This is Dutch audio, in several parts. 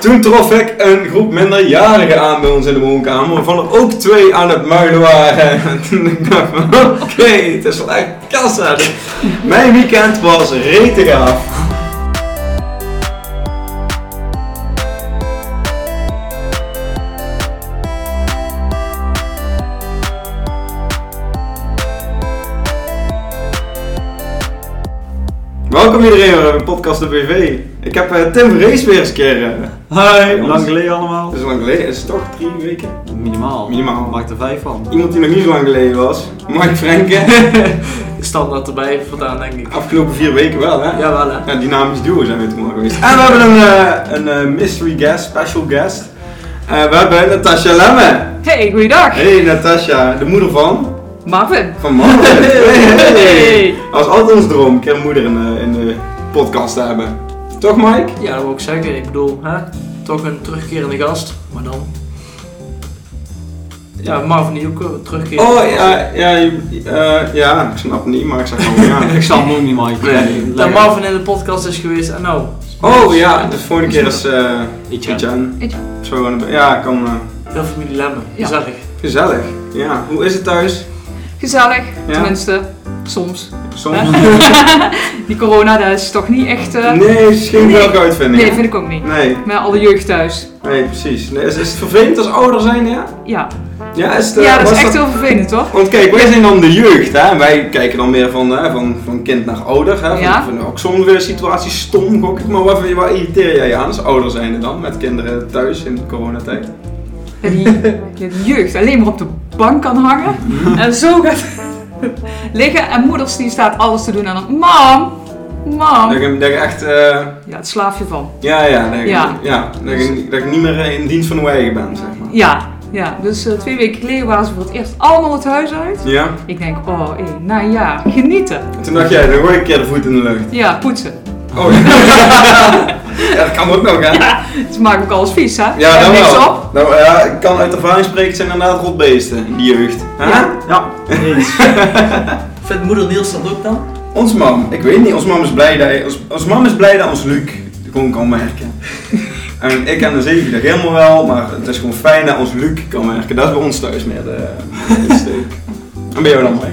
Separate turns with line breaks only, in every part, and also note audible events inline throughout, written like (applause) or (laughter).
Toen trof ik een groep minderjarigen aan bij ons in de woonkamer, waarvan er ook twee aan het muilen waren. (laughs) En toen dacht ik, van, oké, het is wel echt kassa. Dus Mijn weekend was rete gaaf. Welkom iedereen weer bij Podcast de BV. Ik heb eh, Tim Vrees weer eens een keer. eh,
Hi,
Jongens.
lang geleden allemaal.
Het is lang geleden, is het toch drie weken?
Minimaal.
Minimaal.
Maak er vijf van.
Iemand die nog niet zo lang geleden was, Mike (laughs) Frenke.
standaard erbij vandaan, denk ik.
Afgelopen vier weken wel, hè?
Jawel, hè?
Ja, dynamisch duo zijn we toen maar geweest. En we hebben een, eh, een eh, mystery guest, special guest. Eh, we hebben Natasha Lemme.
Hey, goeiedag.
Hey Natasha, de moeder van?
Marvin.
Van Marvin. (laughs) Hey, hey.
Hey.
Dat was altijd ons droom, een keer een moeder in de, in de podcast te hebben. Toch Mike?
Ja, dat wil ik zeggen. Ik bedoel, hè? toch een terugkerende gast, maar dan. Ja, Marvin die ook een terugkerende
Oh
gast.
ja, ja, je- eh, ja, ik snap het niet, maar ik zeg gewoon (laughs) ja.
Ik snap hem ook niet, Mike.
Nee.
Dat
lekker.
Marvin in de podcast is geweest en nou.
Oh ja, de vorige keer is eh
Etienne.
Etienne.
Etienne.
Zo aan de- Ja, kan. eh,
Heel familie Lemmen,
Ja.
gezellig.
gezellig. Ja, hoe is het thuis?
Gezellig,
Ja.
tenminste, soms.
Soms?
Die corona, dat is toch niet echt... eh,
Nee, het is geen
Nee.
welke uitvinding.
Nee, vind ik ook niet.
Nee,
Met al de jeugd thuis.
nee, precies. Nee, is, is het vervelend als ouder zijn, ja?
Ja,
Ja, is het, eh,
ja dat is
was
echt heel
(laughs)
vervelend, hoor.
Want kijk, wij zijn dan de jeugd, hè? en Wij kijken dan meer van, hè, van, van kind naar ouder, hè? Van,
Ja.
van, ook soms weer situaties stom, gok ik. Maar waar, vind je- waar irriteer jij je aan als ouder zijnde dan, met kinderen thuis in de coronatijd?
Dat die die jeugd alleen maar op de bank kan hangen. En zo gaat (laughs) liggen. En moeders die staat alles te doen en dan... Mam,
Dat ik,
mam.
hem- dat ik echt, eh,
Ja, het slaaf je van.
ja, ja, dat ik, ja.
Ja.
dat, ik, dat ik niet meer eh, in dienst van de eigen ben, zeg maar.
Ja, ja. Dus eh, twee weken geleden waren ze voor het eerst allemaal het huis uit.
Ja,
Ik denk, oh, hé, nou ja, genieten.
En toen dacht jij, dan gooi ik een keer de voet in de lucht.
Ja, poetsen.
Oh (laughs) ja, ja dat kan ook nog, hè?
Ze maken ook alles vies, hè?
Ja,
En
dan
niks
wel.
op.
Nou ja, ik kan uit ervaring spreken, het zijn inderdaad rotbeesten in die jeugd. Hè?
Ja.
Ja, eens.
Vindt moeder Niels dat ook dan?
Ons mam, ik weet niet, ons mam is blij dat, ons, ons mam is blij dat ons Luc gewoon kan werken.
(laughs)
en ik en de zeven dat helemaal wel, maar het is gewoon fijn dat ons Luc kan werken. Dat is bij ons thuis meer de,
(laughs)
het steek. En bij jou dan, Mike?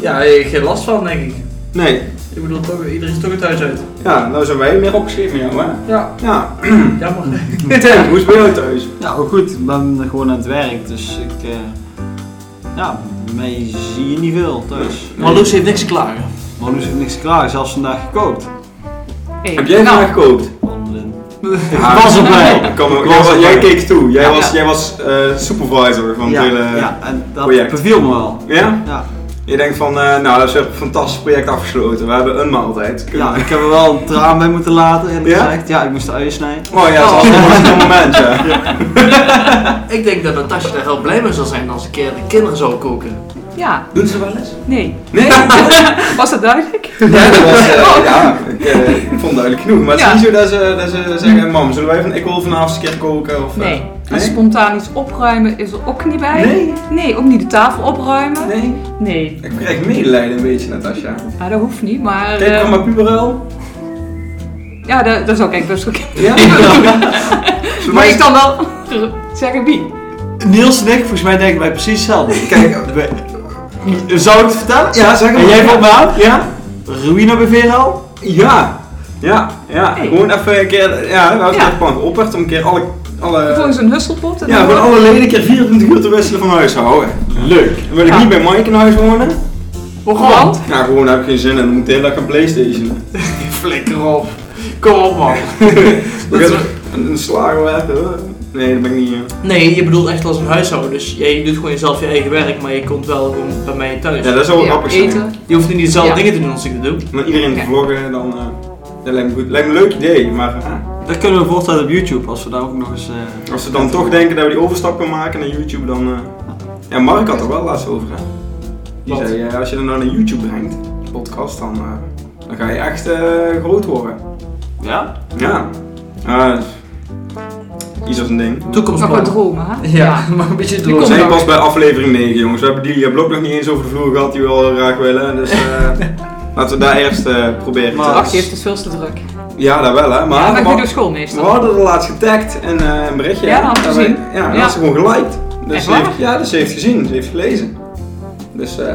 Ja, eh, geen last van, denk ik.
Nee.
Ik bedoel, toch, iedereen is toch het huis uit.
Ja, nou zijn wij meer opgeschreven met jou, hè?
Ja,
Ja.
jammer.
Tim, hoe is het bij jou thuis?
Ja, ook Nou, goed. Ik ben gewoon aan het werk, dus ik... eh, ja, mij zie je niet veel thuis.
Maar Loes
heeft niks klagen.
Marloes heeft niks klaar, zelfs vandaag gekookt.
Hey,
Heb jij
nou,
vandaag gekookt?
Mandelin.
Ja.
was erbij.
Ik kan me-
Ik
jij,
was
was-
erbij.
jij keek toe, jij
Ja.
was, jij was eh, supervisor van
ja,
het hele...
ja, en dat
project.
beviel me wel.
ja?
Ja,
Je denkt van, eh, nou, dat is een fantastisch project afgesloten. We hebben een maaltijd.
ja, ik heb er wel een traan bij moeten laten eerlijk
Ja?
gezegd. Ja, ik moest de uien (laughs) snijden.
Oh ja, dat is wel een moment, ja.
Ik denk dat Natasja daar heel blij mee zal zijn als een keer de kinderen zou koken.
Ja,
Doen ze wel eens?
nee.
Nee, ja,
Was dat duidelijk?
dat was, eh, (laughs) ja ik, eh, ik vond het duidelijk genoeg. Maar het is
Ja.
niet zo dat ze, dat ze zeggen, mam, zullen wij van, ik wil vanavond eens een keer koken? Of, eh,
Nee. En
nee?
spontaan iets opruimen is er ook niet bij.
Nee?
Nee, ook niet de tafel opruimen.
Nee?
Nee.
Ik krijg medelijden een beetje, Natasja.
Ja, dat hoeft niet, maar...
Kijk,
eh,
van mijn puberel.
ja, dat, dat zou ik best wel (laughs) kunnen.
Ja? Zullen
Maar
wij-
ik dan wel (laughs) zeggen wie.
Niels en ik, volgens mij denken wij precies hetzelfde.
Kijk,
(laughs) We- Zou ik het vertellen?
ja, zeg maar.
En jij valt me aan?
Ja?
Ruïna Bevero?
Ja. Ja, ja.
Hey.
Gewoon even een keer, ja, we hebben
Ja.
het gewoon geopperd om een keer alle... alle
Volgens een husselpot. en
Ja,
dan-
gewoon alle leden een keer 24 uur te wisselen van huishouden.
Leuk.
Wil ik
Ja.
niet bij Mike in huis wonen?
Want?
Nou, gewoon daar heb ik geen zin in. Dan moet ik de hele dag gaan playstationen.
Flikker op. Kom op, man.
Dan gaan we Een, een slager weg. hoor. Nee, dat ben ik niet. ja.
Nee, je bedoelt echt als een huishouden. Dus jij doet gewoon jezelf je eigen werk, maar je komt wel gewoon bij mij thuis.
Ja, dat zou wel
Ja,
grappig zijn.
eten.
Je hoeft niet dezelfde
Ja.
dingen te doen als ik dat doe.
Maar iedereen te
Ja.
vloggen, dan... eh, dat lijkt me goed. Lijkt me een leuk idee, maar... eh,
Dat kunnen we voortzetten op YouTube als we daar ook nog eens. eh,
als ze dan toch denken dat we die overstap kunnen maken naar YouTube, dan... eh, ja, Mark had er wel laatst over, hè? Die
Wat?
zei, eh, als je dan naar YouTube brengt, podcast, dan... eh, dan ga je echt eh, groot worden.
Ja?
Ja. Eh iets als een ding.
Nog
Toekomstplan.
wat dromen, hè?
Ja, (laughs) maar een beetje
Kom
We
droog.
zijn
dan.
pas bij aflevering 9, jongens. We hebben die blok nog niet eens over de vloer gehad die we al graag willen. Dus eh, laten we daar eerst eh, proberen.
Maar-
Ach, die heeft het veel te druk.
te- Ja, daar wel hè. Maar,
ja, maar ik doe
we-
door
we
schoolmeester.
hadden er laatst getagd en eh, een berichtje.
Ja, dat had ik
En
gezien.
wij- Ja, dat
Ja.
had ze gewoon geliked. Dus
Echt
ze
waar?
heeft, ja, dus ze heeft gezien, ze heeft gelezen. Dus eh,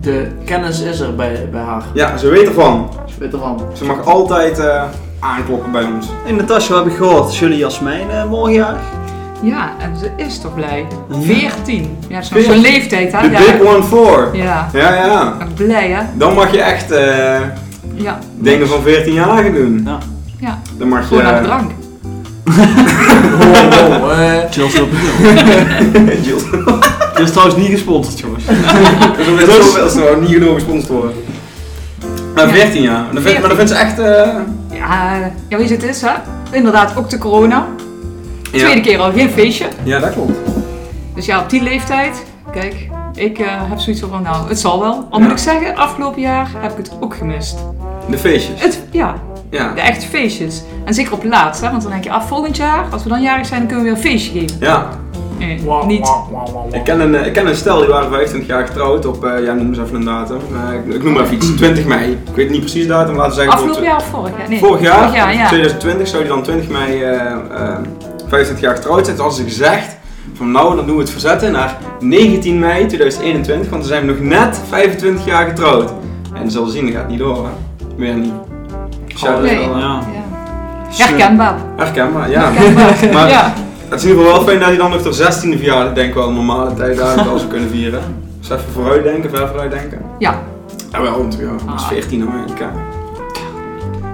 De kennis is er bij, bij haar.
ja, ze weet ervan.
Ze weet (laughs) ervan.
Ze mag altijd eh, aankloppen bij ons.
En Natasja, wat heb ik gehoord? Is jullie Jasmijn eh, morgen jarig?
Ja, en ze is toch blij.
Ja.
14. Ja, dat is nog zo'n
Veertien.
leeftijd hè.
The big
Ja.
one four.
ja.
Ja, ja.
Ik ben Blij hè.
Dan mag je echt eh,
Ja.
dingen van 14-jarigen doen.
Ja.
Ja.
Dan mag je... eh,
Gewoon naar de drank.
Wow, wow, eh.
Chill Stop.
(laughs) Jill.
Dit is trouwens niet gesponsord, jongens.
(laughs) Dus er werd zoveel ze gewoon niet genoeg gesponsord worden. Maar
Ja.
14 jaar. Maar dan vindt- Maar dan vindt ze echt... eh,
Ja, ja, weet je het is hè. Inderdaad, ook de corona. Tweede
ja.
keer al geen feestje.
ja, dat klopt.
Dus ja, op die leeftijd, kijk, ik eh, heb zoiets van, nou, het zal wel.
Ja.
Al moet ik zeggen, afgelopen jaar heb ik het ook gemist.
De feestjes.
Het, ja,
Ja.
de echte feestjes. En zeker op laatst, hè, want dan denk je, ah, volgend jaar, als we dan jarig zijn, dan kunnen we weer een feestje geven.
Ja,
Nee,
Wauw,
niet.
wauw, wauw, wauw.
ik ken, een, eh, ik ken een stel die waren 25 jaar getrouwd op, eh ja, noem eens even een datum. Eh, ik, ik noem maar even iets, 20 mei. Ik weet niet precies de datum, laten we zeggen.
Afgelopen
bijvoorbeeld,
jaar of vorig jaar? Nee,
eh, Vorig jaar,
Vorig jaar, ja.
2020, zou die dan 20 mei eh eh, 25 jaar getrouwd zijn. Toen hadden ze gezegd van nou, dan doen we het verzetten naar 19 mei 2021, want dan zijn we nog net 25 jaar getrouwd. En we zullen zien, dat gaat niet door hè. Weer niet. Shout-out
Nee.
wel, hè.
Ja.
Ja. Herkenbaar.
Herkenbaar, ja.
Herkenbaar.
(laughs) Maar-
ja.
Het is in ieder geval wel fijn dat hij dan nog tot 16e verjaardag denk ik wel een normale tijd daar als we kunnen vieren. Dus even vooruitdenken, ver vooruitdenken.
Ja.
Ja, Nou, wel, want ja, dat is
Ah.
14 Amerika.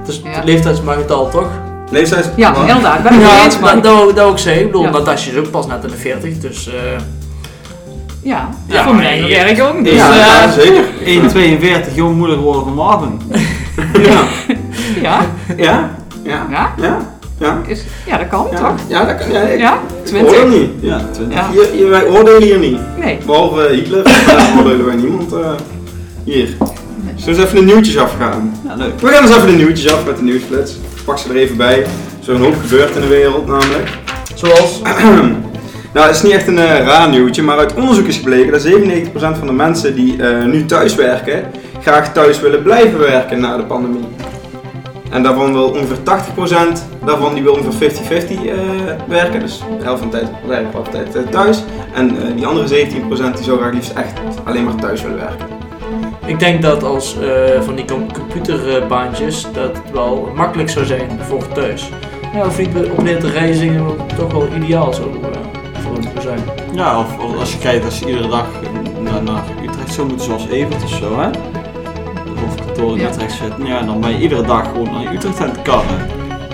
Dus
Ja.
de leeftijd is maar getal, toch?
Leeftijd?
Ja,
Wat?
inderdaad. Ben ik het mee eens, man.
dat, dat wou- dat wou ik zeggen. Ik bedoel,
Ja.
Natasja is ook pas net in de 40, dus... eh
Ja,
Ja,
voor mij
ja.
werk ook. Dus,
Ja,
eh,
ja, zeker.
1,42, jong moeder geworden van Marvin.
Ja.
(laughs) ja.
Ja? Ja?
Ja?
Ja? Ja?
Is, ja, dat kan
Ja,
toch?
ja dat kan. Ja, ik
Ja,
ik oordeel
20.
niet.
Ja, 20.
Ja.
Hier, hier, wij oordelen hier niet.
Nee.
Behalve eh, Hitler (laughs) eh, oordelen wij niemand eh, hier. Zullen we eens even de nieuwtjes afgaan?
Ja, leuk.
We gaan eens even de nieuwtjes af met de nieuwsflits. Ik pak ze er even bij. Er is een hoop gebeurd in de wereld namelijk.
zoals...
Nou, het is niet echt een eh, raar nieuwtje, maar uit onderzoek is gebleken dat 97% van de mensen die eh, nu thuis werken, graag thuis willen blijven werken na de pandemie. En daarvan wil ongeveer 80%, daarvan die wil ongeveer 50-50 eh, werken, dus de helft van de tijd werken, half de tijd eh, thuis. En eh, die andere 17% die zou graag liefst echt alleen maar thuis willen werken.
Ik denk dat als eh, van die com- computerbaantjes dat het wel makkelijk zou zijn voor thuis. Ja, of niet op neer te reizen, wat toch wel ideaal zou eh, voor hem zijn.
Ja, of, of als je kijkt als je iedere dag naar, naar Utrecht zou moeten, zoals Evert of zo, hè? Of kantoor in
Ja.
Utrecht zit. Ja, dan ben je iedere dag gewoon naar Utrecht aan het karren.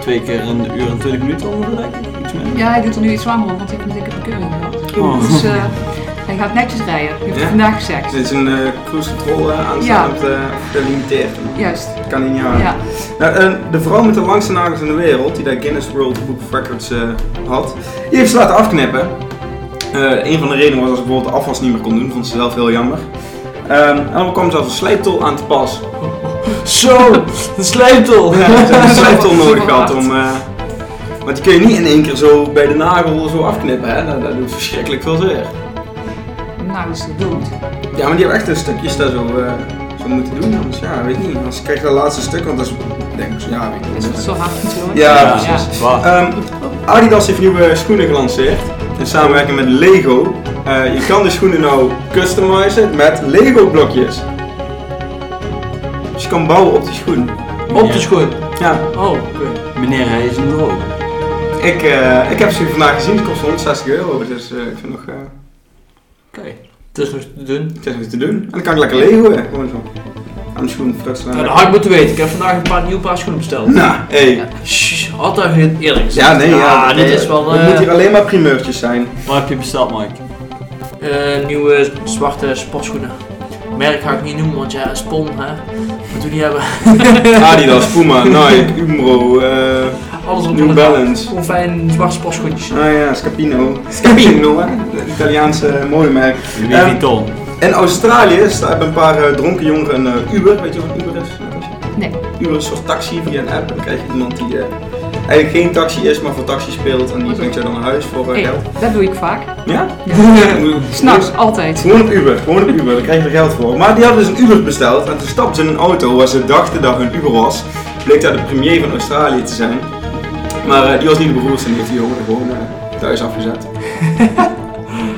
Twee keer een uur en twintig minuten ongeveer, denk ik. Iets minder.
Ja, hij doet er nu iets langer over, want ik heb een dikke bekeuring gehad.
Oh.
Dus eh, hij gaat netjes rijden, heeft hij
Ja?
vandaag gezegd.
Dus dit is een eh, cruise control eh, aanstaand eh, gelimiteerd.
Juist,
Dat kan niet aan.
ja.
Nou, en de vrouw met de langste nagels in de wereld, die daar Guinness World Book of Records eh, had, die heeft ze laten afknippen. Eh, een van de redenen was dat ze bijvoorbeeld de afwas niet meer kon doen, vond ze zelf heel jammer. Ehm, en dan kwam zelfs een slijptol aan te pas.
Zo, (laughs) de slijptol!
Oh, Ja, ze hebben een
(laughs)
slijptol nodig
Super
gehad
hard.
om... eh, want die kun je niet in één keer zo bij de nagel zo afknippen, hè? Dat, dat doet verschrikkelijk veel zeer.
Nou, is het dood.
Ja, maar die hebben echt een stukjes daar zo, eh, zo moeten doen, anders ja, weet ik niet. Anders krijg je dat laatste stuk, want dat is, denk ik, ja, weet ik
Is
niet.
het zo hard natuurlijk?
Ja,
ja.
precies.
Waar?
Ehm, Adidas heeft nieuwe schoenen gelanceerd in samenwerking met Lego. Eh, je kan de schoenen nou customizen met Lego blokjes. Dus je kan bouwen op die schoen.
Op de schoen.
Ja,
Oh, oké.
Meneer, hij is een droog.
ik, eh, ik heb ze vandaag gezien. Het kost 160 euro, dus eh, ik vind nog, eh,
Kijk, het is nog te doen.
het is nog te doen. En dan kan ik lekker Lego weer, gewoon zo. Aan de schoen frutselen.
Ja, Nou, dat had ik moeten weten. Ik heb vandaag een paar nieuw paar schoenen besteld.
Nou, hé.
Ja.
Shh, had dat niet eerlijk gezegd.
Ja, nee, ja.
Ah, dit
nee,
is wel...
Het
eh,
moet hier alleen maar primeurtjes
(laughs)
zijn.
Wat heb je besteld, Mike?
Eh, nieuwe zwarte sportschoenen. Merk ga ik niet noemen, want ja, spon, hè. Moeten we niet hebben.
Adidas, Puma, Nike, Umbro, eh,
Alles op
New
de
Balance.
Gewoon fijn zwarte sportschoentjes.
Ah ja, Scapino. Scapino, hè? Het Italiaanse eh, mooie merk.
Louis
Ehm,
Vuitton.
In Australië is- daar hebben een paar eh, dronken jongeren een eh, Uber. Weet je wat een Uber is? Natasja?
Nee.
Uber is een soort taxi via een app. Dan krijg je iemand die eh, eigenlijk geen taxi is, maar voor taxi speelt. En die brengt jou dan naar huis voor eh,
Hey,
geld.
dat doe ik vaak.
Ja?
S'nachts, altijd.
Gewoon op Uber, gewoon op Uber, daar krijg je er geld voor. Maar die hadden dus een Uber besteld en toen stapten ze in een auto waar ze dachten dat hun Uber was. bleek daar de premier van Australië te zijn. Maar eh, die was niet de beroerdste en die heeft die jongen gewoon eh, thuis afgezet.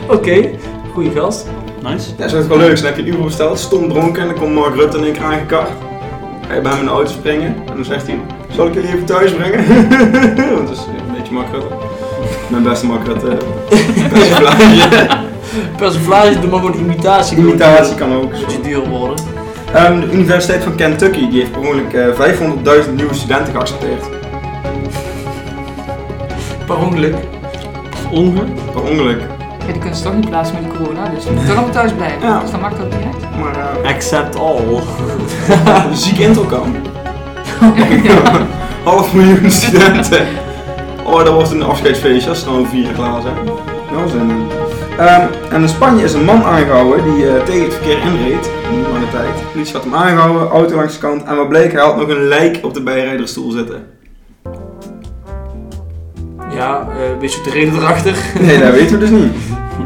Oké, goeie gast.
Nice.
Ja, zo is het wel leuk. Dus Dan heb je een Uber besteld, stom dronken en dan komt Mark Rutte in één keer aangekart. Ga je bij hem in de auto springen en dan zegt hij, zal ik jullie even thuis brengen? (laughs) Want dat is een beetje Mark Rutte. Mijn beste Mark Rutte. Persiflage.
Persiflage, doe maar gewoon imitatie.
Imitatie kan ook.
Een beetje duur worden.
Ehm, de Universiteit van Kentucky die heeft per ongeluk eh, 500.000 nieuwe studenten geaccepteerd.
Per ongeluk.
Onge.
Per ongeluk.
Ja, die kunnen ze toch niet plaatsen met de corona, dus die moeten toch allemaal thuis blijven.
Ja.
Dus dat maakt ook niet uit.
Maar eh,
Accept all.
een ziek intro kan. (laughs) Half miljoen studenten. Oh, dat wordt een afscheidsfeestje als ze nou vier klaar zijn. Nou, zin in. Ehm, en in Spanje is een man aangehouden die eh, tegen het verkeer inreed. Niet lange tijd. De politie had hem aangehouden, auto langs de kant. En wat bleek, hij had nog een lijk op de bijrijdersstoel zitten.
Ja, eh weet je de reden erachter?
(laughs) Nee, dat weten we dus niet.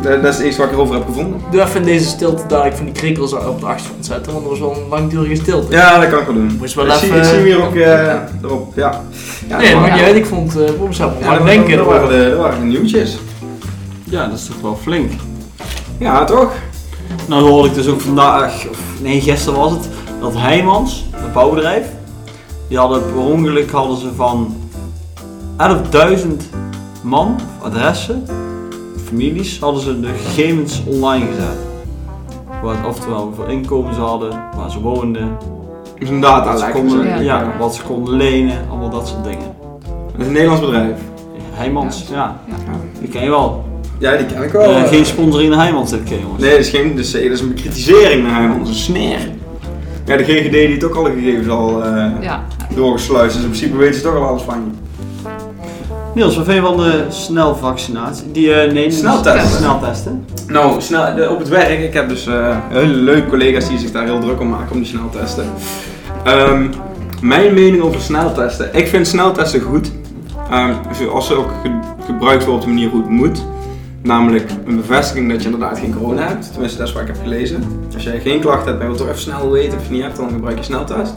Dat, dat is het enige wat ik erover heb gevonden.
Doe even in deze stilte dadelijk van die krikkels op de achtergrond zetten, want er was wel een langdurige stilte.
Ja, dat kan ik wel doen.
Moest wel
ik, zie,
even-
ik zie hem hier ook eh, erop. Ja. Ja,
nee,
maar-
maar jij weet, ik vond eh, het voor mezelf maar denken.
dat waren, de, dat waren de nieuwtjes.
Ja, dat is toch wel flink.
Ja, toch?
Nou hoorde ik dus ook vandaag, of nee gisteren was het, dat Heijmans, een bouwbedrijf, die hadden per ongeluk hadden ze van 11.000 man, adressen, families, hadden ze de gegevens online gezet. Wat, oftewel hoeveel inkomen ze hadden, waar ze woonden,
Dus een data
wat ze,
lijkt
konden,
me
ja.
zo.
wat ze konden lenen, allemaal dat soort dingen.
Dat is een Nederlands bedrijf.
Heijmans, ja,
Ja,
die ken je wel.
die ken ik wel.
Eh, geen sponsoring in Heijmans, dit ken je jongens.
Nee, dat is geen dus, eh, dat is een bekritisering naar hem, dat is een sneer. Ja, de GGD die heeft ook alle gegevens al eh
Ja.
doorgesluist, dus in principe weten ze toch al alles van je.
Niels, wat vind je van de snelvaccinatie? Die, eh nee,
Sneltesten.
sneltesten.
Nou, snel, de- op het werk, ik heb dus eh, hele leuke collega's die zich daar heel druk om maken om die sneltesten. Ehm, mijn mening over sneltesten. Ik vind sneltesten goed. Ehm, als ze ook ge- gebruikt worden op de manier hoe het moet. Namelijk een bevestiging dat je inderdaad geen corona hebt. Tenminste, dat is wat ik heb gelezen. Als jij geen klachten hebt en je wil toch even snel weten of je het niet hebt, dan gebruik je sneltest.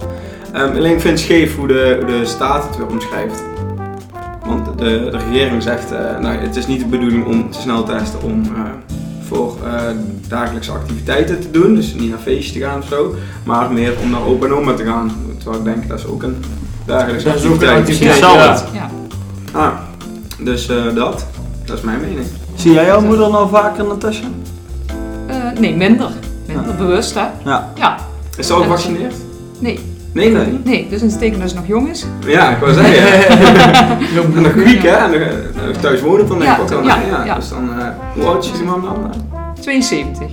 Ehm, alleen ik vind het scheef hoe de, hoe de staat het weer omschrijft. Want de, de regering zegt, eh, nou, het is niet de bedoeling om te snel te testen om eh, voor eh, dagelijkse activiteiten te doen. Dus niet naar feestjes te gaan of zo. Maar meer om naar opa en oma te gaan. Terwijl ik denk, dat is ook een dagelijkse
Dat is ook een
activiteit.
activiteit,
Misschien
ja.
hetzelfde.
Ja.
Ah, dus eh, dat. Dat is mijn mening.
Zie jij jouw moeder nou vaker, Natasja?
Eh, nee, minder. Minder bewust, hè?
Ja.
Ja.
Is ze al gevaccineerd?
Nee.
Nee, nee.
Nee, dus een steken dus nog jong is.
Ja, ik wou (laughs) zeggen. En nog week, hè? En nog- nog thuis wonen dan denk ik
Ja,
ook wel.
ja,
Ja, ja.
ja.
Dus dan, eh, hoe oud is die man dan?
72.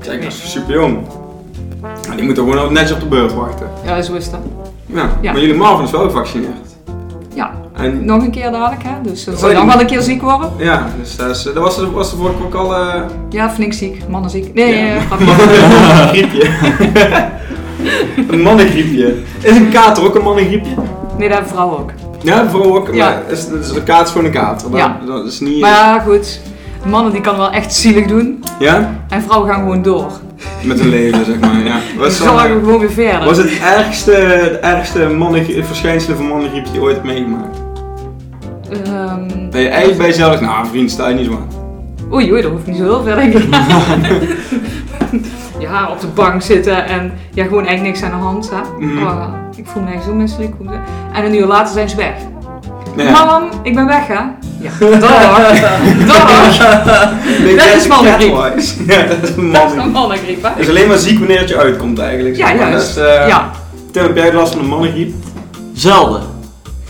Kijk, dat is super jong. Maar die moeten gewoon netjes op de beurt wachten.
Ja, zo is dat.
Ja,
Ja.
maar jullie Marvin is wel gevaccineerd.
Ja.
En
Nog een keer dadelijk, hè? Dus ze
Oh,
zal nog
die-
wel een keer ziek worden.
ja, dus dat, is, dat was, de- was de vorige keer ook al (laughs) eh
Ja, flink ziek. Mannen ziek. Nee,
Ja.
eh, grapje.
een griepje. (laughs) een mannengriepje. Is een kater ook een mannengriepje?
nee, dat hebben vrouwen ook.
Ja, vooral ook.
Ja.
Maar is, is een kater is gewoon een kater. Dat,
Ja.
dat is niet...
Maar ja, goed. Mannen die kan wel echt zielig doen.
Ja?
En vrouwen gaan gewoon door.
Met een leven, zeg maar.
(laughs)
Ja.
Ze
Wat is dan-
zorgen gewoon weer verder.
was het ergste, het ergste mannengrie- verschijnsel van mannengriep die je ooit hebt meegemaakt?
Ehm,
Dat je eigenlijk bij jezelf dacht, nou vriend, sta je niet zo aan.
Oei, oei, dat hoeft niet zo heel ver, denk ik. (laughs) ja, op de bank zitten en ja, gewoon eigenlijk niks aan de hand. Hè?
Mhm.
Oh, ik voel me echt zo misselijk. hoe ze- En een uur later zijn ze weg.
Nee.
Mam, ik ben weg, hè? Ja, (laughs)
(laughs)
dag. dag. Dat is mannengriep.
(laughs) Ja, dat is
Dat is een
mannengriep.
mannengriep, hè?
Het is alleen maar ziek wanneer het je uitkomt eigenlijk.
Ja,
zeg maar.
juist.
Dat is, eh,
Ja,
Tim, heb jij last van een mannengriep?
Zelden.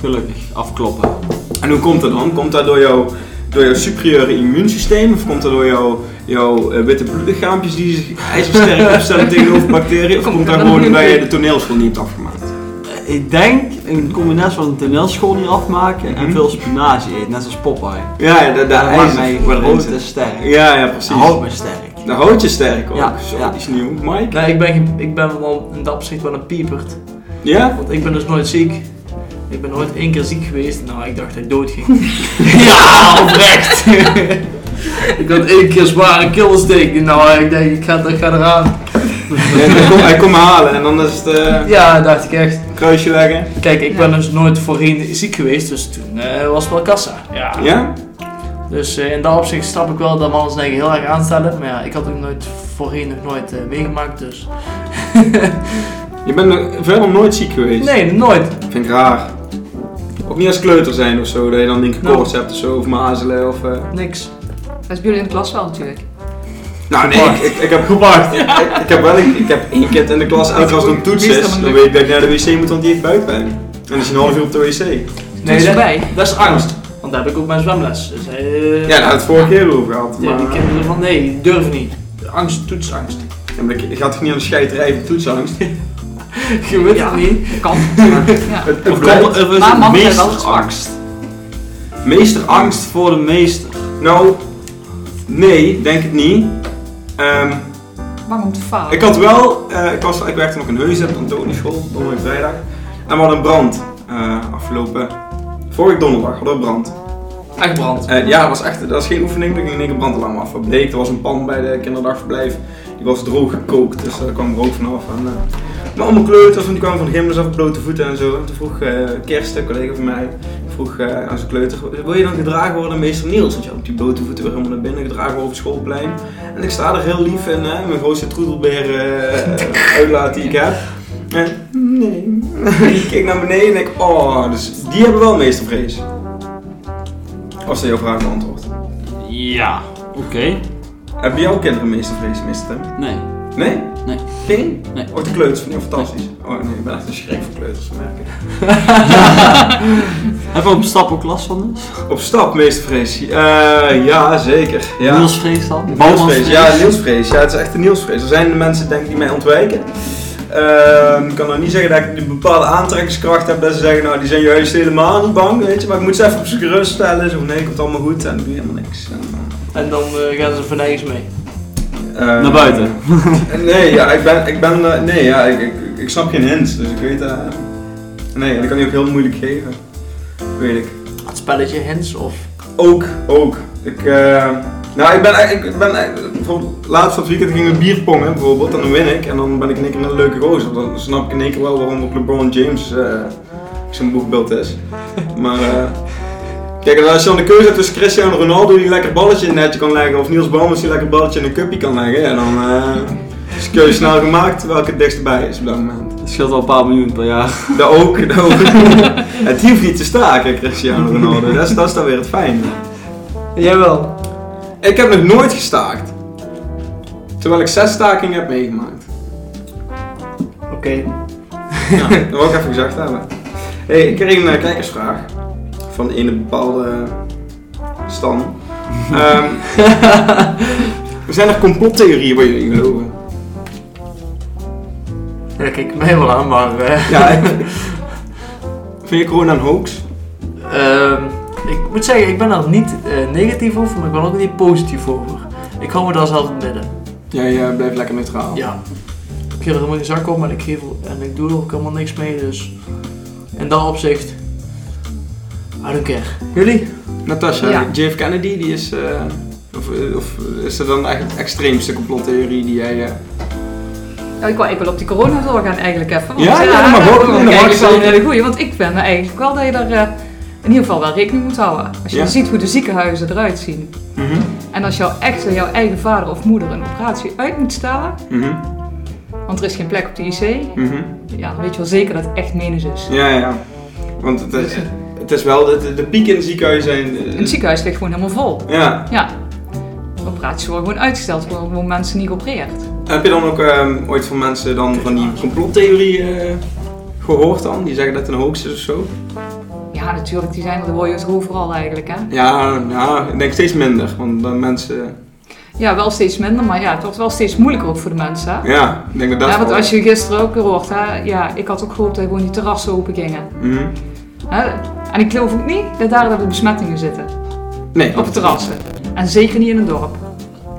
Gelukkig. Afkloppen.
En hoe komt dat dan? Komt dat door jouw, door jouw superieure immuunsysteem? Of komt dat door jouw, jouw eh, witte bloedlichaampjes die zich
(laughs)
ijzersterk opstellen tegenover bacteriën? Of
Komt
komt
dat
dat
dan
gewoon
niet
bij
mee?
je de toneelschool niet hebt afgemaakt?
Eh, Ik denk een combinatie van een toneelschool niet afmaken en
Mhm.
veel spinazie eten, net als Popeye.
Ja, ja, dat, dat
Dat maakt mij
ijzer wat erin
groot
zit.
en sterk.
Ja, ja,
Dat houdt
precies.
me sterk.
Dat houdt je sterk ook.
Ja,
Zo,
ja.
die is nieuw. Mike?
Nee, Nou, ik ben, geen- ik ben wel in dat opzicht wel een piepert.
Ja?
Want ik ben dus nooit ziek. Ik ben nooit één keer ziek geweest. Nou, ik dacht dat ik (laughs) dood ging. ja, oprecht. ik had één keer zware killensteek. Nou, ik denk, ik ga, ik ga eraan.
Ja, hij komt- Hij komt me halen en dan is het... eh,
Ja, dacht ik echt.
kruisje leggen.
Kijk, ik ben dus nooit voorheen ziek geweest, dus toen eh, was het wel kassa. Ja.
Ja?
Dus eh, in dat opzicht snap ik wel dat mannen zich heel erg aanstellen. Maar ja, ik had ook nooit voorheen nog nooit eh, meegemaakt, dus...
Je bent nog verder nooit ziek geweest.
nee, nooit.
Vind ik raar. Ook niet als kleuter zijn of zo, dat je dan denk ik
Nou.
koorts hebt of zo, of mazelen of... eh,
Niks.
Dat is bij jullie in de klas wel natuurlijk.
Nou nee, ik, ik, ik heb gepaard. ik, ik heb wel een, ik heb één kind in de klas, elke als er een toets
Meestal
is, dan
lukt.
weet ik dat ik naar de wc moet, want die heeft buikpijn. En dan is hij een half uur op de wc.
Nee,
dat,
erbij.
dat is angst. Want daar heb ik ook mijn zwemles. Dus, eh,
Ja, nou, daar had het vorige keer over gehad.
ja,
maar-
die kinderen van nee, durven niet. Angst, toetsangst. (laughs)
Ja, maar ik, ik had toch niet aan de scheiterij van
(laughs)
toetsangst.
Je weet
Ja.
het niet.
Kan. (laughs) Ja.
Het, het
Of kan-
blijkt.
of is
Maar
het
mannen zijn wel
meesterangst?
Meester angst.
Angst voor de meester.
Nou, nee, denk het niet. Ehm,
Bang om te falen.
ik had wel, eh, ik, was, ik werkte nog in Heuzen op de Antonieschool, donderdag vrijdag. En we hadden een brand eh, afgelopen, vorige donderdag hadden we brand.
Echt brand.
Eh, ja, dat was echt, dat was geen oefening, er ging in één keer brandalarm af. Wat bleek, er was een pan bij de kinderdagverblijf, die was droog gekookt, dus daar kwam rook vanaf. En, eh, maar allemaal kleuters, want die kwamen van de gymles af, blote voeten en zo. En toen vroeg eh Kirsten, een collega van mij, vroeg eh, aan zijn kleuter, wil je dan gedragen worden aan meester Niels? Want je had die blote voeten weer helemaal naar binnen gedragen over het schoolplein. En ik sta er heel lief in, hè, mijn grootste troedelbeer eh, uitlaat die ik heb. En, nee. (laughs) ik keek naar beneden en ik, oh, dus die hebben wel meestervrees. Als dat jouw vraag beantwoordt.
Ja. Oké.
Hebben jouw kinderen meestervrees, meester Tim?
Nee.
Nee?
Nee.
Geen?
Nee.
Oh, de kleuters vind ik fantastisch. Oh nee, ik ben echt een schrik voor kleuters, merk ik.
Hebben we op stap ook last van dus?
Op stap, meestervrees. Eh ja, zeker. Ja.
Niels Vrees dan?
Nielsvrees, ja, Nielsvrees. Ja, het is echt een Nielsvrees. Er zijn mensen denk ik, die mij ontwijken. Ehm, ik kan nou niet zeggen dat ik een bepaalde aantrekkingskracht heb dat ze zeggen, nou die zijn juist helemaal niet bang, weet je. Maar ik moet ze even op zijn gerust stellen. Zo, nee, komt allemaal goed en dan doe je helemaal niks. En,
Nou,
En dan eh, gaan ze van nergens mee.
eh,
Naar buiten.
(laughs) Nee, ja, ik ben, ik ben, eh, nee, ja, ik, ik, ik snap geen hints, dus ik weet, eh nee, en dat kan je ook heel moeilijk geven, weet ik.
Het spelletje Hens of...
Ook, ook, ik, eh, nou, ik ben, eigenlijk- ik ben, eigenlijk- bijvoorbeeld, laatst van het weekend gingen we bierpongen, bijvoorbeeld, en dan win ik, en dan ben ik in één keer een leuke gozer, dan snap ik in één keer wel waarom ook LeBron James eh, zijn boekbeeld is, maar, eh, Kijk, en als je dan de keuze hebt tussen Cristiano Ronaldo die lekker balletje in het netje kan leggen, of Niels Boumans die lekker balletje in een cupje kan leggen, en dan eh, is de keuze snel gemaakt welke het dichtst bij is op dat moment.
Het scheelt al een paar miljoen per jaar.
Dat ook, dat ook. het hield niet te staken, Cristiano Ronaldo. Dat is, dat is dan weer het fijne.
Jawel.
Ik heb nog nooit gestaakt. Terwijl ik zes stakingen heb meegemaakt.
Oké.
Ja, dat wil ik even gezegd hebben. Hey, ik kreeg een eh, kijkersvraag van een bepaalde Stan. Ehm, zijn er complottheorieën waar jullie in geloven?
Ja, kijk mij wel aan, maar... eh,
Ja, ik- vind je corona een hoax?
ehm, ik moet zeggen, ik ben er niet eh, negatief over, maar ik ben ook niet positief over. Ik hou me daar zelf in het midden.
Jij eh, blijft lekker neutraal.
Ja. Ik geef er helemaal geen zak op, maar ik geef er- en ik doe er ook helemaal niks mee, dus... In dat opzicht... I don't care. Jullie?
Natasha,
Ja.
JF Kennedy, die is. eh, of, eh, of is dat dan echt de extreemste complottheorie die jij. eh,
Nou, ik wil ik wil op die corona doorgaan eigenlijk even. Want,
Ja, ja,
eh,
maar goed, nee,
dat
dat
is
mag
eigenlijk wel een
zeker.
hele goeie. Want ik ben er eigenlijk wel dat je daar eh, in ieder geval wel rekening moet houden. Als je
Ja.
ziet hoe de ziekenhuizen eruit zien.
Mhm.
En als jouw echt jouw eigen vader of moeder een operatie uit moet stellen.
mhm,
Want er is geen plek op de IC.
mhm.
Ja, dan weet je wel zeker dat het echt menens is.
Ja, ja. Want het is, het is wel. De, de, de piek in het ziekenhuis zijn. eh,
Een ziekenhuis ligt gewoon helemaal vol.
Ja.
Ja. Operaties worden gewoon uitgesteld, worden gewoon mensen niet geopereerd.
Heb je dan ook eh, ooit van mensen dan van die complottheorie eh, gehoord dan? Die zeggen dat het een hoax is of zo?
Ja, natuurlijk, die zijn er, daar hoor je het overal eigenlijk, hè.
Ja, ja, ik denk steeds minder. Want dan mensen.
Ja, wel steeds minder, maar ja, het wordt wel steeds moeilijker ook voor de mensen, hè.
Ja, ik denk dat dat.
Ja, want
vooral-
als je gisteren ook weer hoort, hè, ja, ik had ook gehoopt dat gewoon die terrassen open gingen.
Mhm.
Hè? En ik geloof ook niet dat daar de besmettingen zitten,
Nee.
op de terrassen. En zeker niet in een dorp.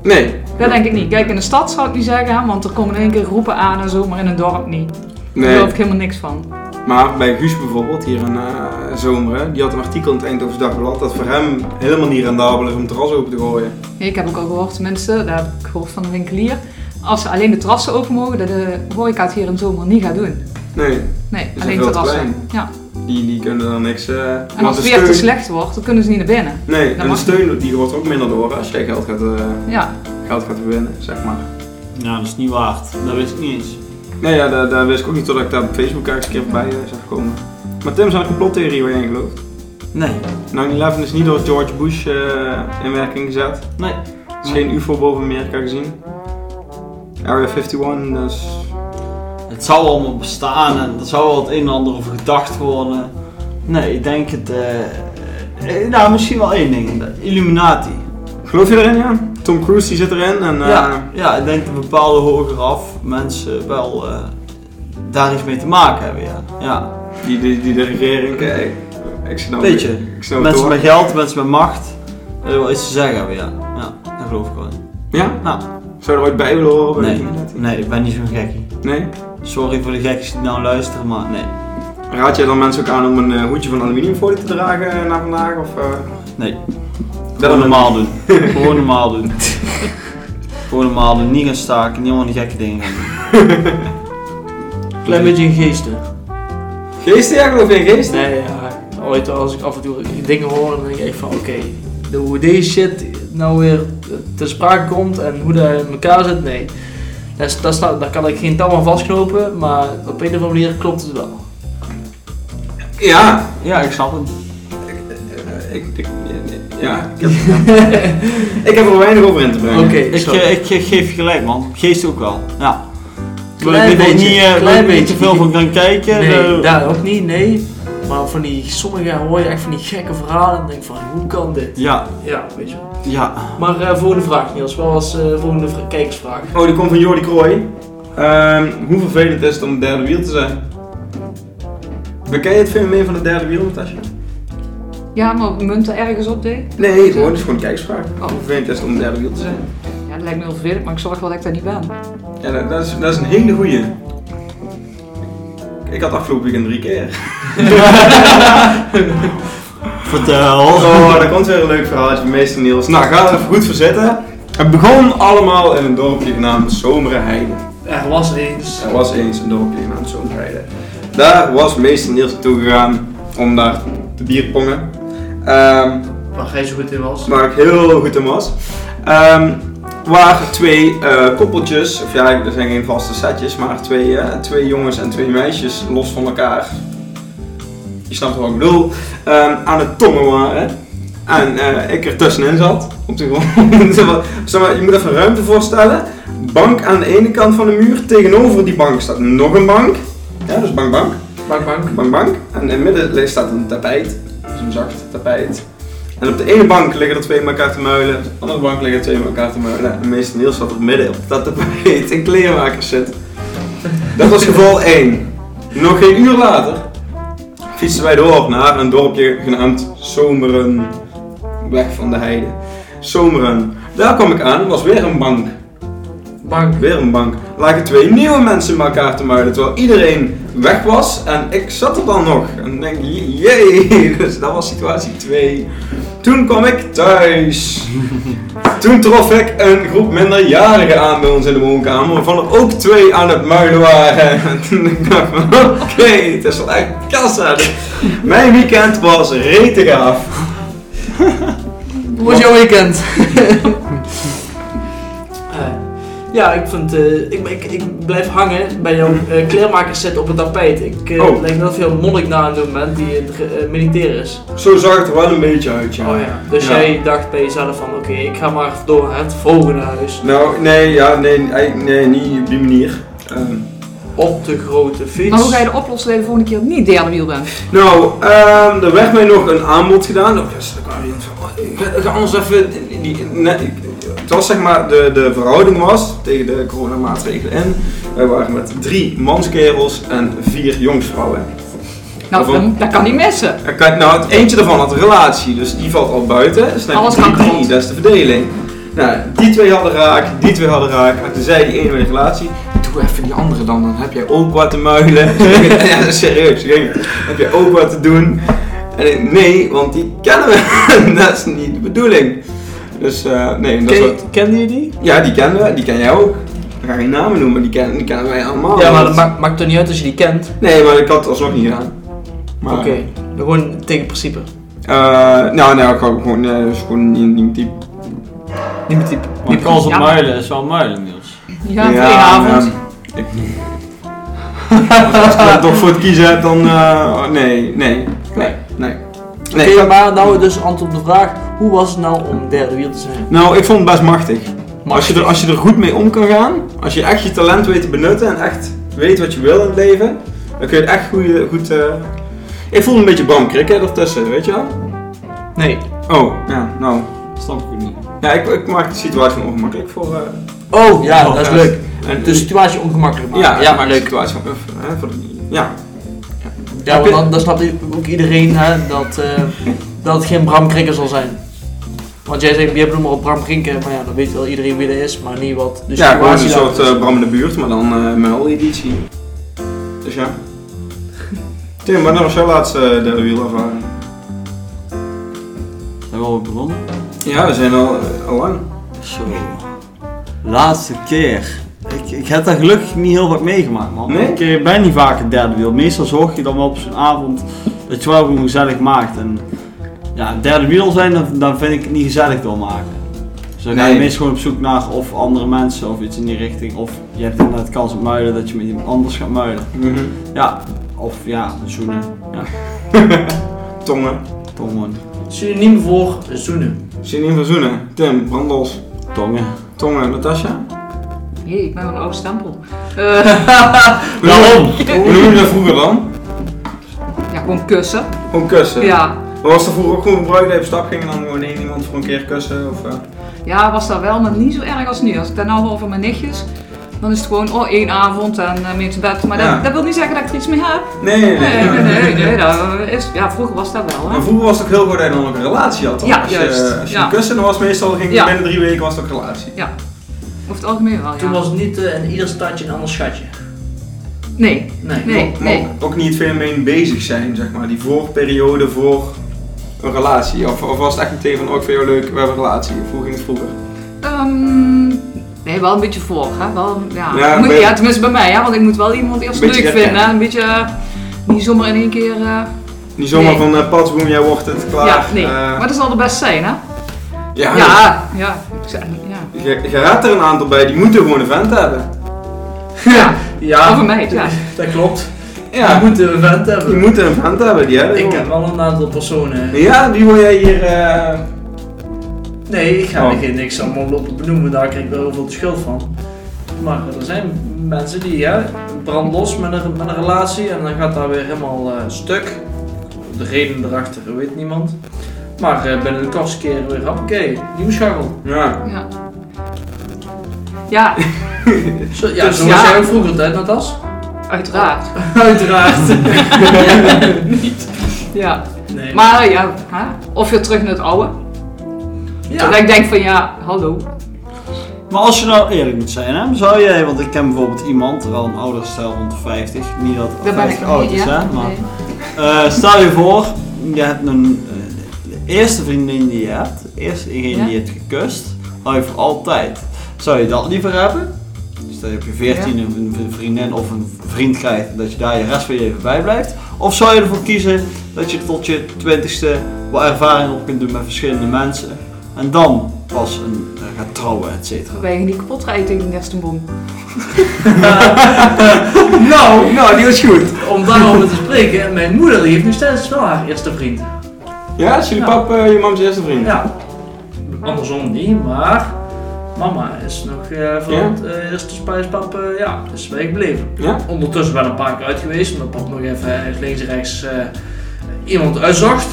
Nee.
Dat denk ik niet. Kijk, in de stad zou ik niet zeggen, hè, want er komen in één keer groepen aan en zo, maar in een dorp niet. Daar
Nee.
geloof ik helemaal niks van.
Maar bij Guus bijvoorbeeld, hier in eh Zomeren, die had een artikel in het Eindhoven's Dagblad dat voor hem helemaal niet rendabel is om het terras open te gooien.
Ik heb ook al gehoord, tenminste, dat heb ik gehoord van de winkelier, als ze alleen de terrassen open mogen, dat de horeca het hier in de zomer niet gaat doen.
Nee,
Nee,
zijn
alleen
veel te
terrassen. Ja.
die, die kunnen dan niks. eh,
En
want
als
de
het weer te
steun-
slecht wordt, dan kunnen ze niet naar binnen.
Nee, en de
mag
steun die wordt ook minder door als jij geld gaat, eh,
Ja.
geld gaat verbinden, zeg maar.
Nou, dat is niet waard. Dat wist ik niet eens.
Nee, ja, daar, daar wist ik ook niet totdat ik daar op Facebook ergens een keer voorbij eh, zag komen. Maar Tim, zijn er complottheorie waar jij in gelooft?
Nee.
9-11 is niet door George Bush eh, in werking gezet.
Nee.
Er is geen UFO boven Amerika gezien. Area 51, dat is...
Het zou allemaal bestaan en er zou wel het een en ander over gedacht worden. Nee, ik denk het. eh, eh, nou, misschien wel één ding. de Illuminati.
Geloof je erin, ja? Tom Cruise die zit erin en... eh,
Ja, ja, ik denk dat bepaalde hoger af mensen wel eh, daar iets mee te maken hebben. Ja. ja.
Die, die, die de regering... Kijk, ik snap
Weet je,
ik snap het
Mensen
hoor.
met geld, mensen met macht. eh, wel iets te zeggen hebben, ja. Ja, dat geloof ik wel. in.
Ja?
Nou,
Zou je er ooit bij willen horen? bij de
nee,
Illuminati?
nee, ik ben niet zo'n gekkie.
Nee?
Sorry voor de gekkies die nou luisteren, maar nee.
Raad jij dan mensen ook aan om een eh, hoedje van aluminiumfolie te dragen eh, na vandaag? Of, eh,
Nee.
dat
Gewoon normaal (laughs) doen. Gewoon normaal doen. Gewoon normaal doen. Niet gaan staken, niet allemaal die gekke dingen gaan doen.
Klein beetje in geesten.
Geesten, ja, geloof je in geesten?
Nee, ja. Ooit als ik af en toe dingen hoor, dan denk ik echt van oké, de- hoe deze shit nou weer te sprake komt en hoe dat in elkaar zit, nee. Daar, is- daar, staat- daar kan ik geen touw aan vastknopen, maar op een of andere manier klopt het wel.
Ja, Eh,
Ja, ik snap het.
Ik, ik, ja, ik heb,
(laughs)
ik heb er weinig over in te brengen.
Oké,
Ik,
sorry.
eh, ik ge- geef je gelijk man. Geest ook wel. Ja. Wil ik
Klein
niet, wil ik
beetje,
niet, eh, wil ik
klein
niet
beetje.
te veel van gaan kijken.
Nee,
eh,
daar ook niet, nee. Maar van die, sommige hoor je echt van die gekke verhalen en denk van hoe kan dit?
ja,
Ja, weet je wel.
ja.
Maar eh, volgende vraag Niels, wat was eh volgende vra- kijkersvraag?
Oh, die komt van Jordi Krooi. Ehm, hoe vervelend is het om derde wiel te zijn? Ken je het fenomeen van de derde wiel, Natasja?
Ja, maar munten ergens op deed.
Nee, gewoon, het is gewoon een kijksvraag.
Oh.
Hoe vervelend is het om derde wiel te zijn?
Ja, dat lijkt me heel vervelend, maar ik zorg wel dat ik daar niet ben.
Ja, dat, dat is, dat is een hele goeie. Ik had afgelopen weekend drie keer.
Vertel.
Oh, (laughs) daar komt weer een leuk verhaaltje van meester Niels. Nou, ga er even goed voor zitten. Het begon allemaal in een dorpje genaamd Zomerenheide.
Er dus was eens.
Er was eens een dorpje genaamd Zoomrijden. Daar was meester Niels naartoe gegaan om daar te bierpongen. Ehm,
Waar jij zo goed in was.
waar ik heel goed in was. Ehm waar twee eh, koppeltjes, of ja, er zijn geen vaste setjes, maar twee, eh, twee jongens en twee meisjes los van elkaar. Je snapt wat ik bedoel. ehm, aan het tongen waren. En eh, ik er tussenin zat. Op de grond. (laughs) Zeg maar- zeg maar, je moet even ruimte voorstellen. Bank aan de ene kant van de muur. Tegenover die bank staat nog een bank. Ja, dus bank, bank.
Bank, bank.
Bank, bank. En in het midden staat een tapijt. Dus een zacht tapijt. En op de ene bank liggen er twee in elkaar te muilen. Op de andere bank liggen er twee in elkaar te muilen. En meester Niels zat er midden op dat tapijt in kleermakers zit. Dat was geval 1. Nog geen uur later fietsten wij door naar een dorpje genaamd Zomeren. Weg van de heide. Zomeren. Daar kwam ik aan, was weer een bank.
Bank.
Weer een bank. Lagen twee nieuwe mensen met elkaar te muilen terwijl iedereen weg was en ik zat er dan nog. En dan denk ik, je- jee, (laughs) dus dat was situatie 2. Toen kwam ik thuis. Toen trof ik een groep minderjarigen aan bij ons in de woonkamer, waarvan er ook twee aan het muilen waren. (laughs) En toen dacht ik van, oké, het is wel echt kassa. dit. Mijn weekend was rete gaaf.
Hoe was jouw weekend? Eh, ja, ik, vind, eh, ik, ik, ik blijf hangen bij jouw eh kleermakers zitten op het tapijt. Ik eh
Oh.
lijk dat je een monnik na aan het doen bent die eh, ge- eh, militair is.
Zo zag het er wel een beetje uit, Oh, ja.
Dus
Ja.
jij dacht bij jezelf van oké, ik ga maar door het volgende huis.
Nou, nee, ja, nee, eigenlijk- nee, niet op die manier. Ehm,
Op de grote fiets.
Maar hoe ga je de oplossing de volgende keer dat ik niet derde wiel ben?
Nou, ehm, er werd mij nog een aanbod gedaan. Oh, yes, dan kwam iemand van, oh, ga- ga ons even... die- die- nee, ik- het was zeg maar, de, de verhouding was tegen de coronamaatregelen in. Wij waren met drie manskerels en vier jongsvrouwen.
Nou,
Waarom?
dat, dat kan niet missen.
Er kan- Nou, het eentje daarvan had een relatie, dus die valt al buiten. Dus dan heb je
Alles kan
drie,
kapot.
drie, dat is de verdeling. Nou, die twee hadden raak, die twee hadden raak. Maar toen zei die ene met een relatie, doe even die andere dan, dan heb jij ook wat te
(laughs)
muilen. ja, serieus, ik denk, heb jij ook wat te doen? En ik, nee, want die kennen we. (laughs) dat is niet de bedoeling. Dus eh, nee, dat is
Ken-
wat...
Kende je die?
Ja, die kennen we, die ken jij ook. Ik ga geen namen noemen, die kennen, die kennen wij allemaal.
Ja, maar dat maakt, maakt toch niet uit als je die kent?
Nee, maar ik had het alsnog niet gedaan. Maar,
Oké, gewoon tegen principe.
eh, nou, nee, ik had gewoon, nee, dat is gewoon niet, niet diep.
Niet meer type.
Die kans op
Ja.
muilen is wel muilen, Niels.
Ja, voor één avond.
ja, nou, ik- Als ik er toch voor het kiezen heb, dan. eh, nee, nee, nee, nee. nee
Oké,
ik had-
maar nou dus antwoord op de vraag, hoe was het nou om derde wiel te zijn?
nou, ik vond het best machtig.
Maar
Als, je er, als je er goed mee om kan gaan, als je echt je talent weet te benutten en echt weet wat je wil in het leven, dan kun je het echt goede, goed. eh, Ik voelde een beetje Bram Krikken ertussen, weet je wel?
Nee.
Oh, ja, nou.
Snap ik ook niet.
Ja, ik, ik maak de situatie ongemakkelijk voor. eh,
Oh, ja,
Oh,
dat is
ja.
leuk. Dus
en,
De situatie ongemakkelijk maken.
ja, ja, maak de
leuk.
situatie van. eh, voor de- Ja,
Ja, want dan, dan snapt ook iedereen hè, dat, eh, dat het geen Bram Krikken zal zijn. Want jij zegt, je hebt hem op Bram Krikken, maar ja, dan weet wel iedereen wie dat is, maar niet wat de
ja gewoon een
daar
soort
is.
eh, Bram in de buurt, maar dan eh muil-editie. Dus ja. (laughs) Tim, wanneer was jouw laatste eh, derde wielervaring?
Zijn we al begonnen?
Ja, we zijn al, eh, al lang.
Zo. Laatste keer. Ik, ik heb daar gelukkig niet heel vaak meegemaakt, man.
Nee?
Ik eh, ben niet vaak een derde wiel. Meestal zorg je dan wel op zo'n avond dat je wel gewoon gezellig maakt. En ja, een derde wiel zijn, dan, dan vind ik het niet gezellig wil maken. Dus dan ga je
Nee.
meestal gewoon op zoek naar of andere mensen of iets in die richting. Of je hebt inderdaad kans op muilen dat je met iemand anders gaat muilen.
Mhm.
Ja, of ja, zoenen. Ja,
Tongen.
tongen.
eh,
Synoniem voor zoenen.
Sinien van Zoenen. Tim, Brandels.
Tongen.
Tongen, Natasja.
Jee, ik ben wel een oude stempel. Eh,
Nou,
Waarom?
Hoe noem je dat vroeger dan?
ja, gewoon kussen.
Gewoon kussen.
Ja.
Maar was dat vroeger ook gewoon gebruikt dat je op stap ging en dan gewoon één iemand voor een keer kussen? Of, eh?
ja, was dat wel, maar niet zo erg als nu. Als ik daar nou hoor van mijn nichtjes, dan is het gewoon oh, één avond en eh, mee te bed. Maar
Ja.
dat, dat wil niet zeggen dat ik er iets mee heb.
Nee, nee,
Nee,
nee. ja.
nee, nee. nee, dat is, ja, vroeger was dat wel. Hè?
En vroeger was het ook heel goed dat je dan ook een relatie had. Dan.
Ja,
als je,
juist.
Als je
Ja.
kussen was, meestal ging
Ja.
binnen drie weken was het ook een relatie.
Over het algemeen wel, ja.
Toen was het niet eh, in ieder stadje een ander schatje.
Nee,
Nee.
nee,
Maar
nee.
Ook, ook niet het fenomeen bezig zijn, zeg maar. Die voorperiode voor een relatie. Of, of was het echt meteen van, oh ik vind jou leuk, we hebben een relatie. Of Hoe ging het vroeger?
Ehm, nee, wel een beetje voor, hè. Wel, ja.
Ja,
Moet-
ben-
ja, tenminste bij mij, hè. Want ik moet wel iemand eerst
Een
leuk
beetje
vinden. hè.
herkennen.
Een beetje, eh, niet zomaar in één keer... eh,
Niet zomaar
Nee.
van, eh pats, boem, jij wordt het, klaar.
ja, nee.
Eh,
maar dat zal de best zijn, hè.
ja,
Ja, ja. Ik zeg- ja.
Je, je raadt er een aantal bij, die moeten gewoon een vent hebben.
Ja,
Ja,
Of een meid, ja.
dat klopt.
Ja,
Je moet een vent
die
hebben.
moeten een vent hebben, die hebben
Ik
gewoon.
heb wel een aantal personen. eh,
Ja, die wil jij hier... eh,
Nee, ik ga
Oh.
er geen niks allemaal lopen benoemen, daar krijg ik wel heel veel de schuld van. Maar er zijn mensen die hè, brand los met een, met een relatie en dan gaat daar weer helemaal eh, stuk. De reden erachter weet niemand. Maar eh, binnen de kortste keer weer, hoppakee, nieuwe scharrel.
Ja.
Ja. Ja,
Zo, ja,
Dus
zo
ja.
was jij ook vroeger tijd, Natas?
(laughs) uiteraard.
Uiteraard.
Ja.
nee.
Maar eh, ja, hè? of weer terug naar het oude.
ja.
Dat ik denk van ja, hallo.
Maar als je nou eerlijk moet zijn, hè, zou jij, want ik ken bijvoorbeeld iemand, wel een oudere stijl rond de 50, niet dat
Daar ben
50
ik nog
oud
niet,
is,
ja.
hè, maar
Nee.
eh, stel je voor, je hebt een, eh, de eerste vriendin die je hebt, de eerste degene
Ja.
die je hebt gekust, hou je voor altijd. Zou je dat liever hebben? Stel je op je 14 een een vriendin of een vriend krijgt, dat je daar je rest van je leven bij blijft. Of zou je ervoor kiezen dat je tot je 20ste wat ervaring op kunt doen met verschillende mensen en dan pas een, eh, gaat trouwen, et cetera?
Wij gaan die kapot rijden tegen de nestenbom.
Nou, nou, die was goed.
Om daarover te spreken, mijn moeder die heeft nu steeds wel haar eerste vriend.
Ja, is jullie
Ja.
pap eh, je mams eerste vriend?
Ja, andersom niet, maar mama is nog eh verand, eh, is de spijspap, eh, ja, is bij gebleven.
Ja?
Ondertussen ben ik een paar keer uit geweest, omdat pap nog even eh, links en rechts eh, iemand uitzocht.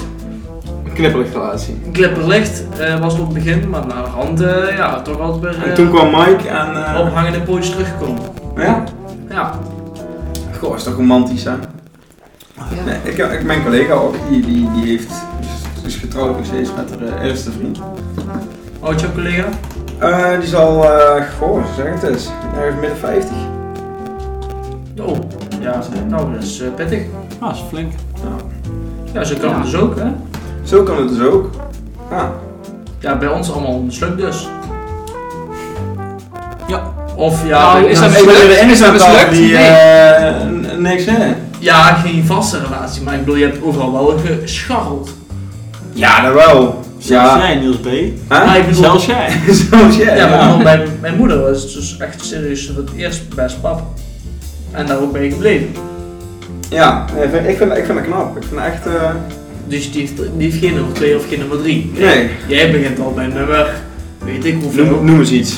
Een knipperlicht relatie.
Een Glipperlicht eh was het op het begin, maar naar de hand, eh, ja, toch altijd weer
En
eh,
toen kwam Mike en... eh,
ophangende pootjes teruggekomen.
Ja?
Ja,
Goh, is toch romantisch, hè?
Ja.
Nee, ik, ik, mijn collega ook, die, die, die heeft, is- is getrouwd nog steeds met haar eh, eerste vriend.
oud jouw collega.
Eh, die is al, eh, goh, zeg het eens, ergens midden 50.
Oh, ja, nou dat is eh, pittig.
Ah, dat is flink.
Nou,
Ja, zo kan
Ja.
het dus ook, hè.
zo kan het dus ook. Ah. Ja.
Ja, bij ons allemaal een sluk dus.
Ja.
Of ja,
Nou, is
ja,
dat
Ik ben
mislukt?
weer in een
Mislukt?
tafel die
Nee.
eh, n- niks zeggen.
ja, geen vaste relatie, maar ik bedoel, je hebt overal wel gescharreld.
Ja, dat wel.
Zelfs
Ja.
jij, Niels B.
(laughs)
Maar
Hè?
ik bedoel,
Zelfs jij.
Zelfs jij.
ja, maar
Ja,
bijvoorbeeld Bij, mijn moeder was het dus echt serieus het eerst best pap. En daar ook ben je gebleven.
ja nee, ik vind- ik, vind, ik vind dat knap. Ik vind het echt... eh,
Dus die heeft, die heeft geen nummer 2 of geen nummer 3.
nee,
Jij begint al bij nummer, weet ik hoeveel.
noem, noem eens iets.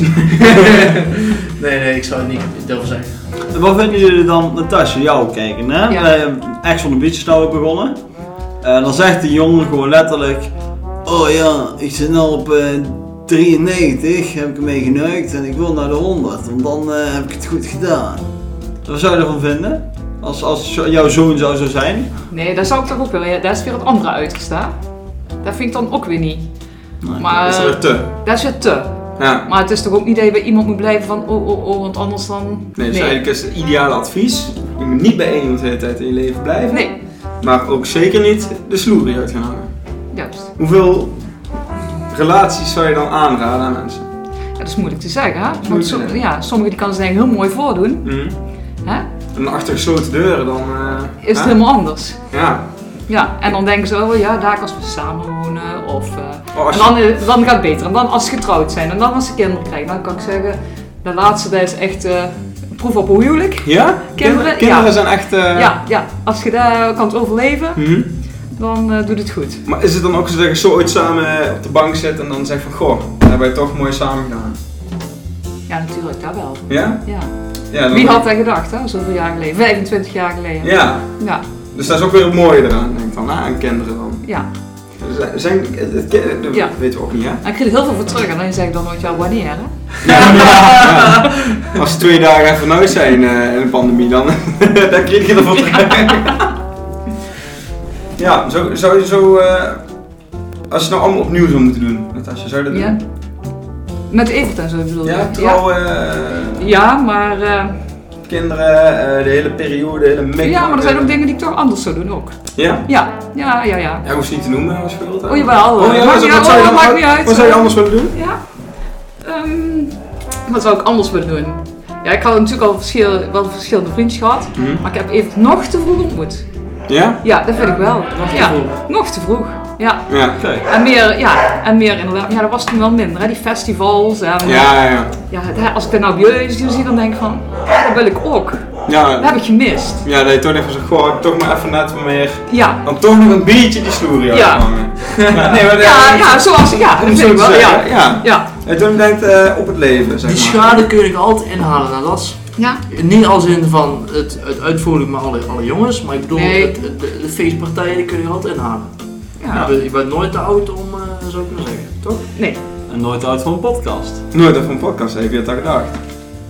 nee, nee, ik zou het niet durven zeggen.
En (laughs) Wat vinden jullie dan, Natasja, jou kijken? Hè?
Ja.
Bij Echt van de Beach is nou ook begonnen. En dan zegt de jongen gewoon letterlijk: Oh ja, ik zit nu op eh, 93, heb ik ermee geneukt en ik wil naar de 100, want dan eh, heb ik het goed gedaan. Wat zou je ervan vinden? Als, als zo- jouw zoon zou zo zijn?
Nee, daar zou ik toch ook wel weer. Daar is weer het andere uitgestaan. Dat vind ik dan ook weer niet. Maar
Is dat er te?
dat is weer te.
Ja.
Maar het is toch ook niet dat je bij iemand moet blijven van oh oh oh, want anders dan.
Nee, dus eigenlijk is het ideale advies. Je moet niet bij één iemand de hele tijd in je leven blijven.
Nee,
Maar ook zeker niet de sloerie uit gaan hangen.
juist.
Hoeveel relaties zou je dan aanraden aan mensen?
Ja, dat is moeilijk te zeggen, hè? Want
Moeilijk
som-
te zeggen.
ja, sommigen die kan ze eigenlijk heel mooi voordoen.
Mhm.
Hè?
En achter gesloten deuren dan... eh,
Is het
hè?
helemaal anders.
Ja.
Ja, en dan denken ze, oh ja, daar als we samen wonen. Of, eh,
Oh, als
en dan, eh, dan gaat het beter. En dan als ze getrouwd zijn en dan als ze kinderen krijgen, dan kan ik zeggen, de laatste dat is echt eh, een proef op een huwelijk.
Ja?
Kinderen,
kinderen
ja.
zijn echt... eh,
ja, ja, als je daar kan overleven,
mhm.
dan eh, doet het goed.
Maar is het dan ook zo dat je zo ooit samen eh, op de bank zit en dan zegt van goh, dat hebben wij toch mooi samen gedaan?
Ja, natuurlijk, daar wel.
Ja?
Ja.
ja dan-
Wie had dat gedacht, hè? Zoveel jaar geleden, 25 jaar geleden.
Ja,
Ja,
dus dat is ook weer het mooie eraan, denk ik dan, hè, aan kinderen dan.
ja.
Z- Zijn, het- het- het- dat
Ja.
weten we ook niet, hè?
En ik kreeg er heel veel voor terug en dan zeg ik dan nooit, ja, wanneer, hè?
Ja. Als ze twee dagen even uit zijn eh, in de pandemie, dan, (laughs) dan kreeg je ervoor terug. (laughs) Ja, zo, zou je zo, eh, als je het nou allemaal opnieuw zou moeten doen, Natasja, zou je dat
Ja.
doen?
Met Evert en zo bedoel je?
Ja,
ja.
trouwen, eh,
Ja, maar, eh,
kinderen, eh, de hele periode, de hele make
ja, maar er zijn ook dingen die ik toch anders zou doen ook.
Ja?
Ja, ja, ja, ja.
Ja, hoeft ze niet te noemen als schuld. hè?
Oh, jawel.
Oh, ja,
Maakt
wat,
niet
wat
uit,
zou je
hoor,
dan,
maakt niet uit.
Wat zou je anders willen doen?
Ja. Ehm, wat zou ik anders willen doen? Ja, ik had natuurlijk al verschil, wel verschillende vriendjes gehad,
Mhm.
maar ik heb even nog te vroeg ontmoet.
Ja?
Ja, dat vind ik wel.
Nog te
ja,
vroeg.
Nog te vroeg. Ja.
Ja.
Kijk.
En meer, ja, en meer inderdaad. Ja, dat was toen wel minder, hè, die festivals. En,
Ja, ja, ja.
ja, hè, als ik dat nou bij jullie zo zie, dan denk ik van, ja, dat wil ik ook. Dat
Ja,
heb ik gemist.
ja dat je toch even zo, goh, ik toch maar even net wat meer.
Ja.
Dan toch nog een biertje die sloerie
Ja.
uithangen. Ja. (laughs) Nee, maar
Ja, ja, zoals, ja, dat
om
vind
zo
ik
te
wel, ja.
zeggen, ja.
Ja.
En toen denkt eh, op het leven, zeg
Die
maar.
schade kun je nog altijd inhalen, nou, dat is
Ja.
Niet als in van het, het uitvoering met alle, alle jongens, maar ik bedoel,
Nee.
het, het- de, de feestpartijen die kun je altijd inhalen. Je,
Ja.
bent, je bent nooit te oud om, eh zou ik maar zeggen, toch?
Nee.
En nooit uit van een podcast.
Nooit even een podcast, heb je dat al gedacht?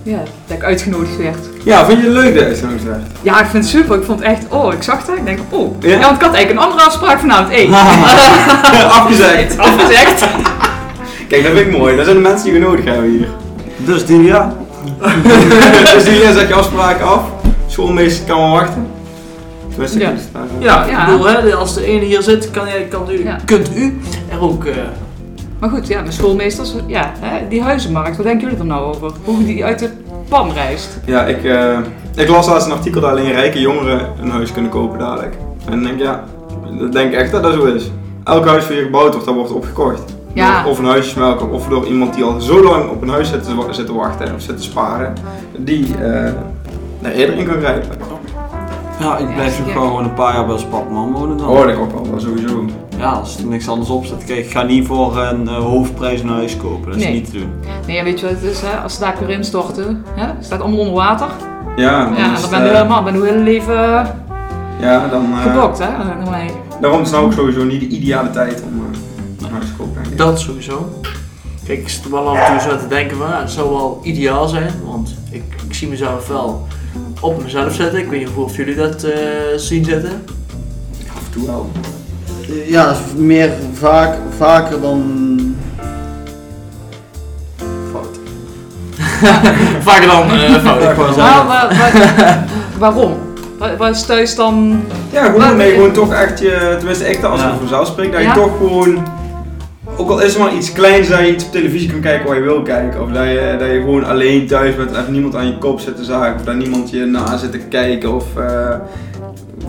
Ja, dat ik uitgenodigd werd.
Ja, vind je het leuk dat je zo'n zegt? (laughs)
Ja, ik vind het super. Ik vond het echt, oh, ik zag dat. Ik denk, oh.
Ja?
Ja, want ik had eigenlijk een andere afspraak vanavond. Hé,
Afgezegd. (laughs)
(laughs) afgezegd.
Kijk, dat vind ik mooi. Dat zijn de mensen die we nodig hebben (laughs) hier.
Dus die ja.
dus die leer zet je afspraken af. Schoolmeester kan wel wachten. Tenminste, ik
Ja.
moet het eh. vragen.
Ja,
Ja.
ik bedoel, hè, als de ene hier zit, kan, jij- kan u,
Ja.
kunt u er ook... eh,
Maar goed, ja, mijn schoolmeesters, ja, hè, die huizenmarkt, wat denken jullie er nou over? Hoe die uit de pan rijst.
Ja, ik, eh, ik las laatst een artikel dat alleen rijke jongeren een huis kunnen kopen dadelijk. En ik denk, ja, ik denk echt dat dat zo is. Elk huis wat hier gebouwd wordt, dat wordt opgekocht.
Ja.
Door- Of een huisjesmelker, of door iemand die al zo lang op een huis zit te, wa- zit te wachten of zit te sparen, die eh daar eerder in kan grijpen.
Oh. Ja, ik blijf
Ja,
nog
ja.
gewoon een paar jaar bij Spakman wonen dan.
Hoorde ik ook al, wel sowieso.
Ja, als er niks anders op zit. Kijk, ik ga niet voor een eh, hoofdprijs een huis kopen. Dat is
Nee.
niet te doen.
Nee, ja, weet je wat het is, hè? Als ze daar weer instorten, hè? staat allemaal onder water.
Ja, dan
Ja,
is
dan
het,
ben je
eh,
helemaal, ben je hele leven eh,
Ja, dan... eh,
geblokt, hè? Dan denk ik, nee.
daarom is het nou ook sowieso niet de ideale tijd om eh, een huis te kopen. denk ik.
Dat sowieso. Kijk, ik zit er wel af en toe zo te denken van, ja, het zou wel ideaal zijn, want ik, ik zie mezelf wel op mezelf zetten. Ik weet niet of jullie dat eh, zien zitten.
Af en toe wel.
Eh, Ja, dat is meer vaak, vaker dan.
Fout.
Vaker dan eh fout.
Ik wou zeggen,
Maar wa- Nou, wa- waarom? Wa- Wat is thuis dan...
Ja, gewoon
Maar-
nee, gewoon toch echt je, tenminste echt als ik
Ja.
voor mezelf spreek, dat je
Ja?
toch gewoon ook al is er maar iets kleins dat je iets op televisie kan kijken waar je wil kijken. Of dat je, dat je gewoon alleen thuis bent, even niemand aan je kop zit te zaken. Of dat niemand je na zit te kijken. Of eh,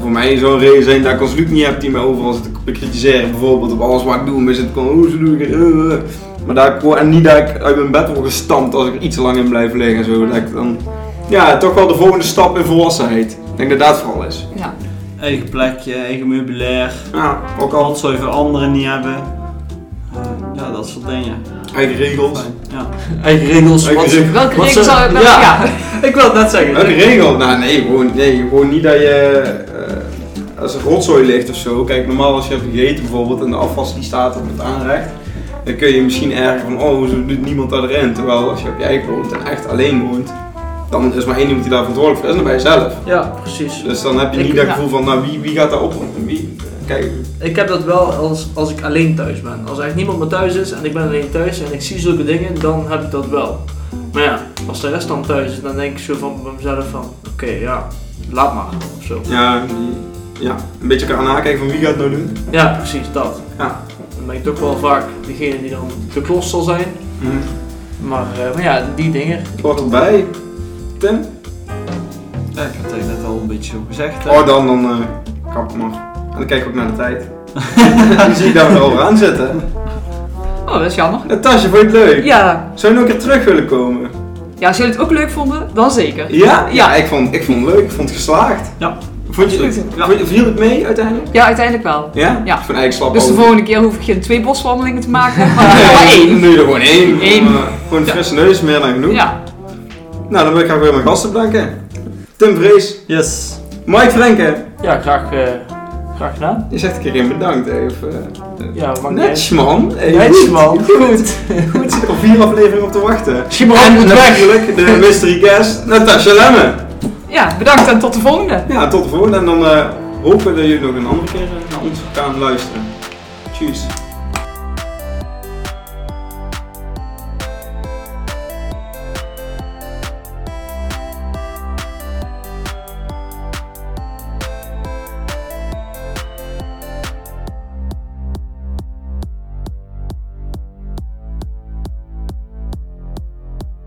voor mij zo'n reden zijn dat ik als Luc niet heb die mij overal zit te bekritiseren. Bijvoorbeeld op alles wat ik doe. Maar zit gewoon, hoe ze doen. ik het, eh, eh. Maar dat ik, gewoon- en niet dat ik uit mijn bed word gestampt als ik er iets te lang in blijf liggen. en Zo, dat ik dan, ja, toch wel de volgende stap in volwassenheid. Ik denk dat dat vooral is.
Ja.
Eigen plekje, eigen meubilair.
Ja, ook al.
Kant zou je voor anderen niet hebben. Eh, ja, dat soort dingen.
Eigen regels.
Fijn, Ja.
Eigen regels.
Eigen
wat-
regels.
Welke
Wat
regel
zou-
zou ik wel...
ja.
Ja. (laughs)
Ik wil het net zeggen.
Welke regel? Nou nee, gewoon, nee, gewoon niet dat je... eh, als er rotzooi ligt of zo, kijk normaal als je hebt gegeten bijvoorbeeld en de afwas die staat op het aanrecht, dan kun je misschien erger van, oh hoezo doet niemand dat erin? Terwijl als je op je eigen woont en echt alleen woont, dan is maar één iemand die daar verantwoordelijk voor is en dat ben je zelf.
Ja, precies.
Dus dan heb je
Ik-
niet dat
ja.
gevoel van, nou wie, wie gaat daar op? Wie, eh, kijk,
Ik heb dat wel als, als ik alleen thuis ben. Als er echt niemand meer thuis is en ik ben alleen thuis en ik zie zulke dingen, dan heb ik dat wel. Maar ja, als de rest dan thuis is, dan denk ik zo van bij mezelf van, oké, ja, laat maar, of zo.
ja, die, ja, een beetje elkaar nakijken van wie gaat het nou doen.
Ja, precies, dat.
Ja.
Dan ben ik toch wel vaak degene die dan de klos zal zijn. Maar, eh, maar ja, die dingen.
Het hoort erbij. Tim?
Ja, ik heb het eigenlijk net al een beetje zo gezegd. hè.
Oh, dan, dan eh, kap hem af. En dan kijk ik ook naar de
(laughs)
tijd. dan zie ik dat we erover aan zitten.
Oh, dat is jammer.
Natasja, vond je het leuk?
Ja.
Zou je nog een keer terug willen komen?
ja, als jullie het ook leuk vonden, dan zeker.
Ja? Ja, ik vond, ik vond het leuk. Ik vond het geslaagd.
Ja.
Vond je,
Ja.
vond je- viel het mee uiteindelijk?
Ja, uiteindelijk wel.
Ja?
Ja.
Ik vind eigenlijk slap
Dus de
over.
volgende keer hoef ik geen twee boswandelingen te maken,
(laughs)
maar
Nee,
maar één.
Nu er gewoon één.
Eén.
Om, eh, Gewoon een
Ja.
frisse neus, meer dan genoeg.
Ja.
Nou, dan wil ik graag weer mijn gasten bedanken. Tim Vrees,
Yes.
Mike Frenken.
Ja, graag, eh, graag gedaan.
Je zegt een keer in bedankt. hè, of, eh,
Ja, mag niet
Netjes man. Hey,
Netjes,
goed.
man.
Goed. Goed, zit er al vier afleveringen op te wachten.
Schimmerhand
En
moet weg.
natuurlijk de mystery guest, Natasha Lemme.
ja, bedankt en tot de volgende.
Ja, tot de volgende. En dan eh, hopen we dat jullie nog een andere keer eh, naar ons gaan luisteren. Tjus.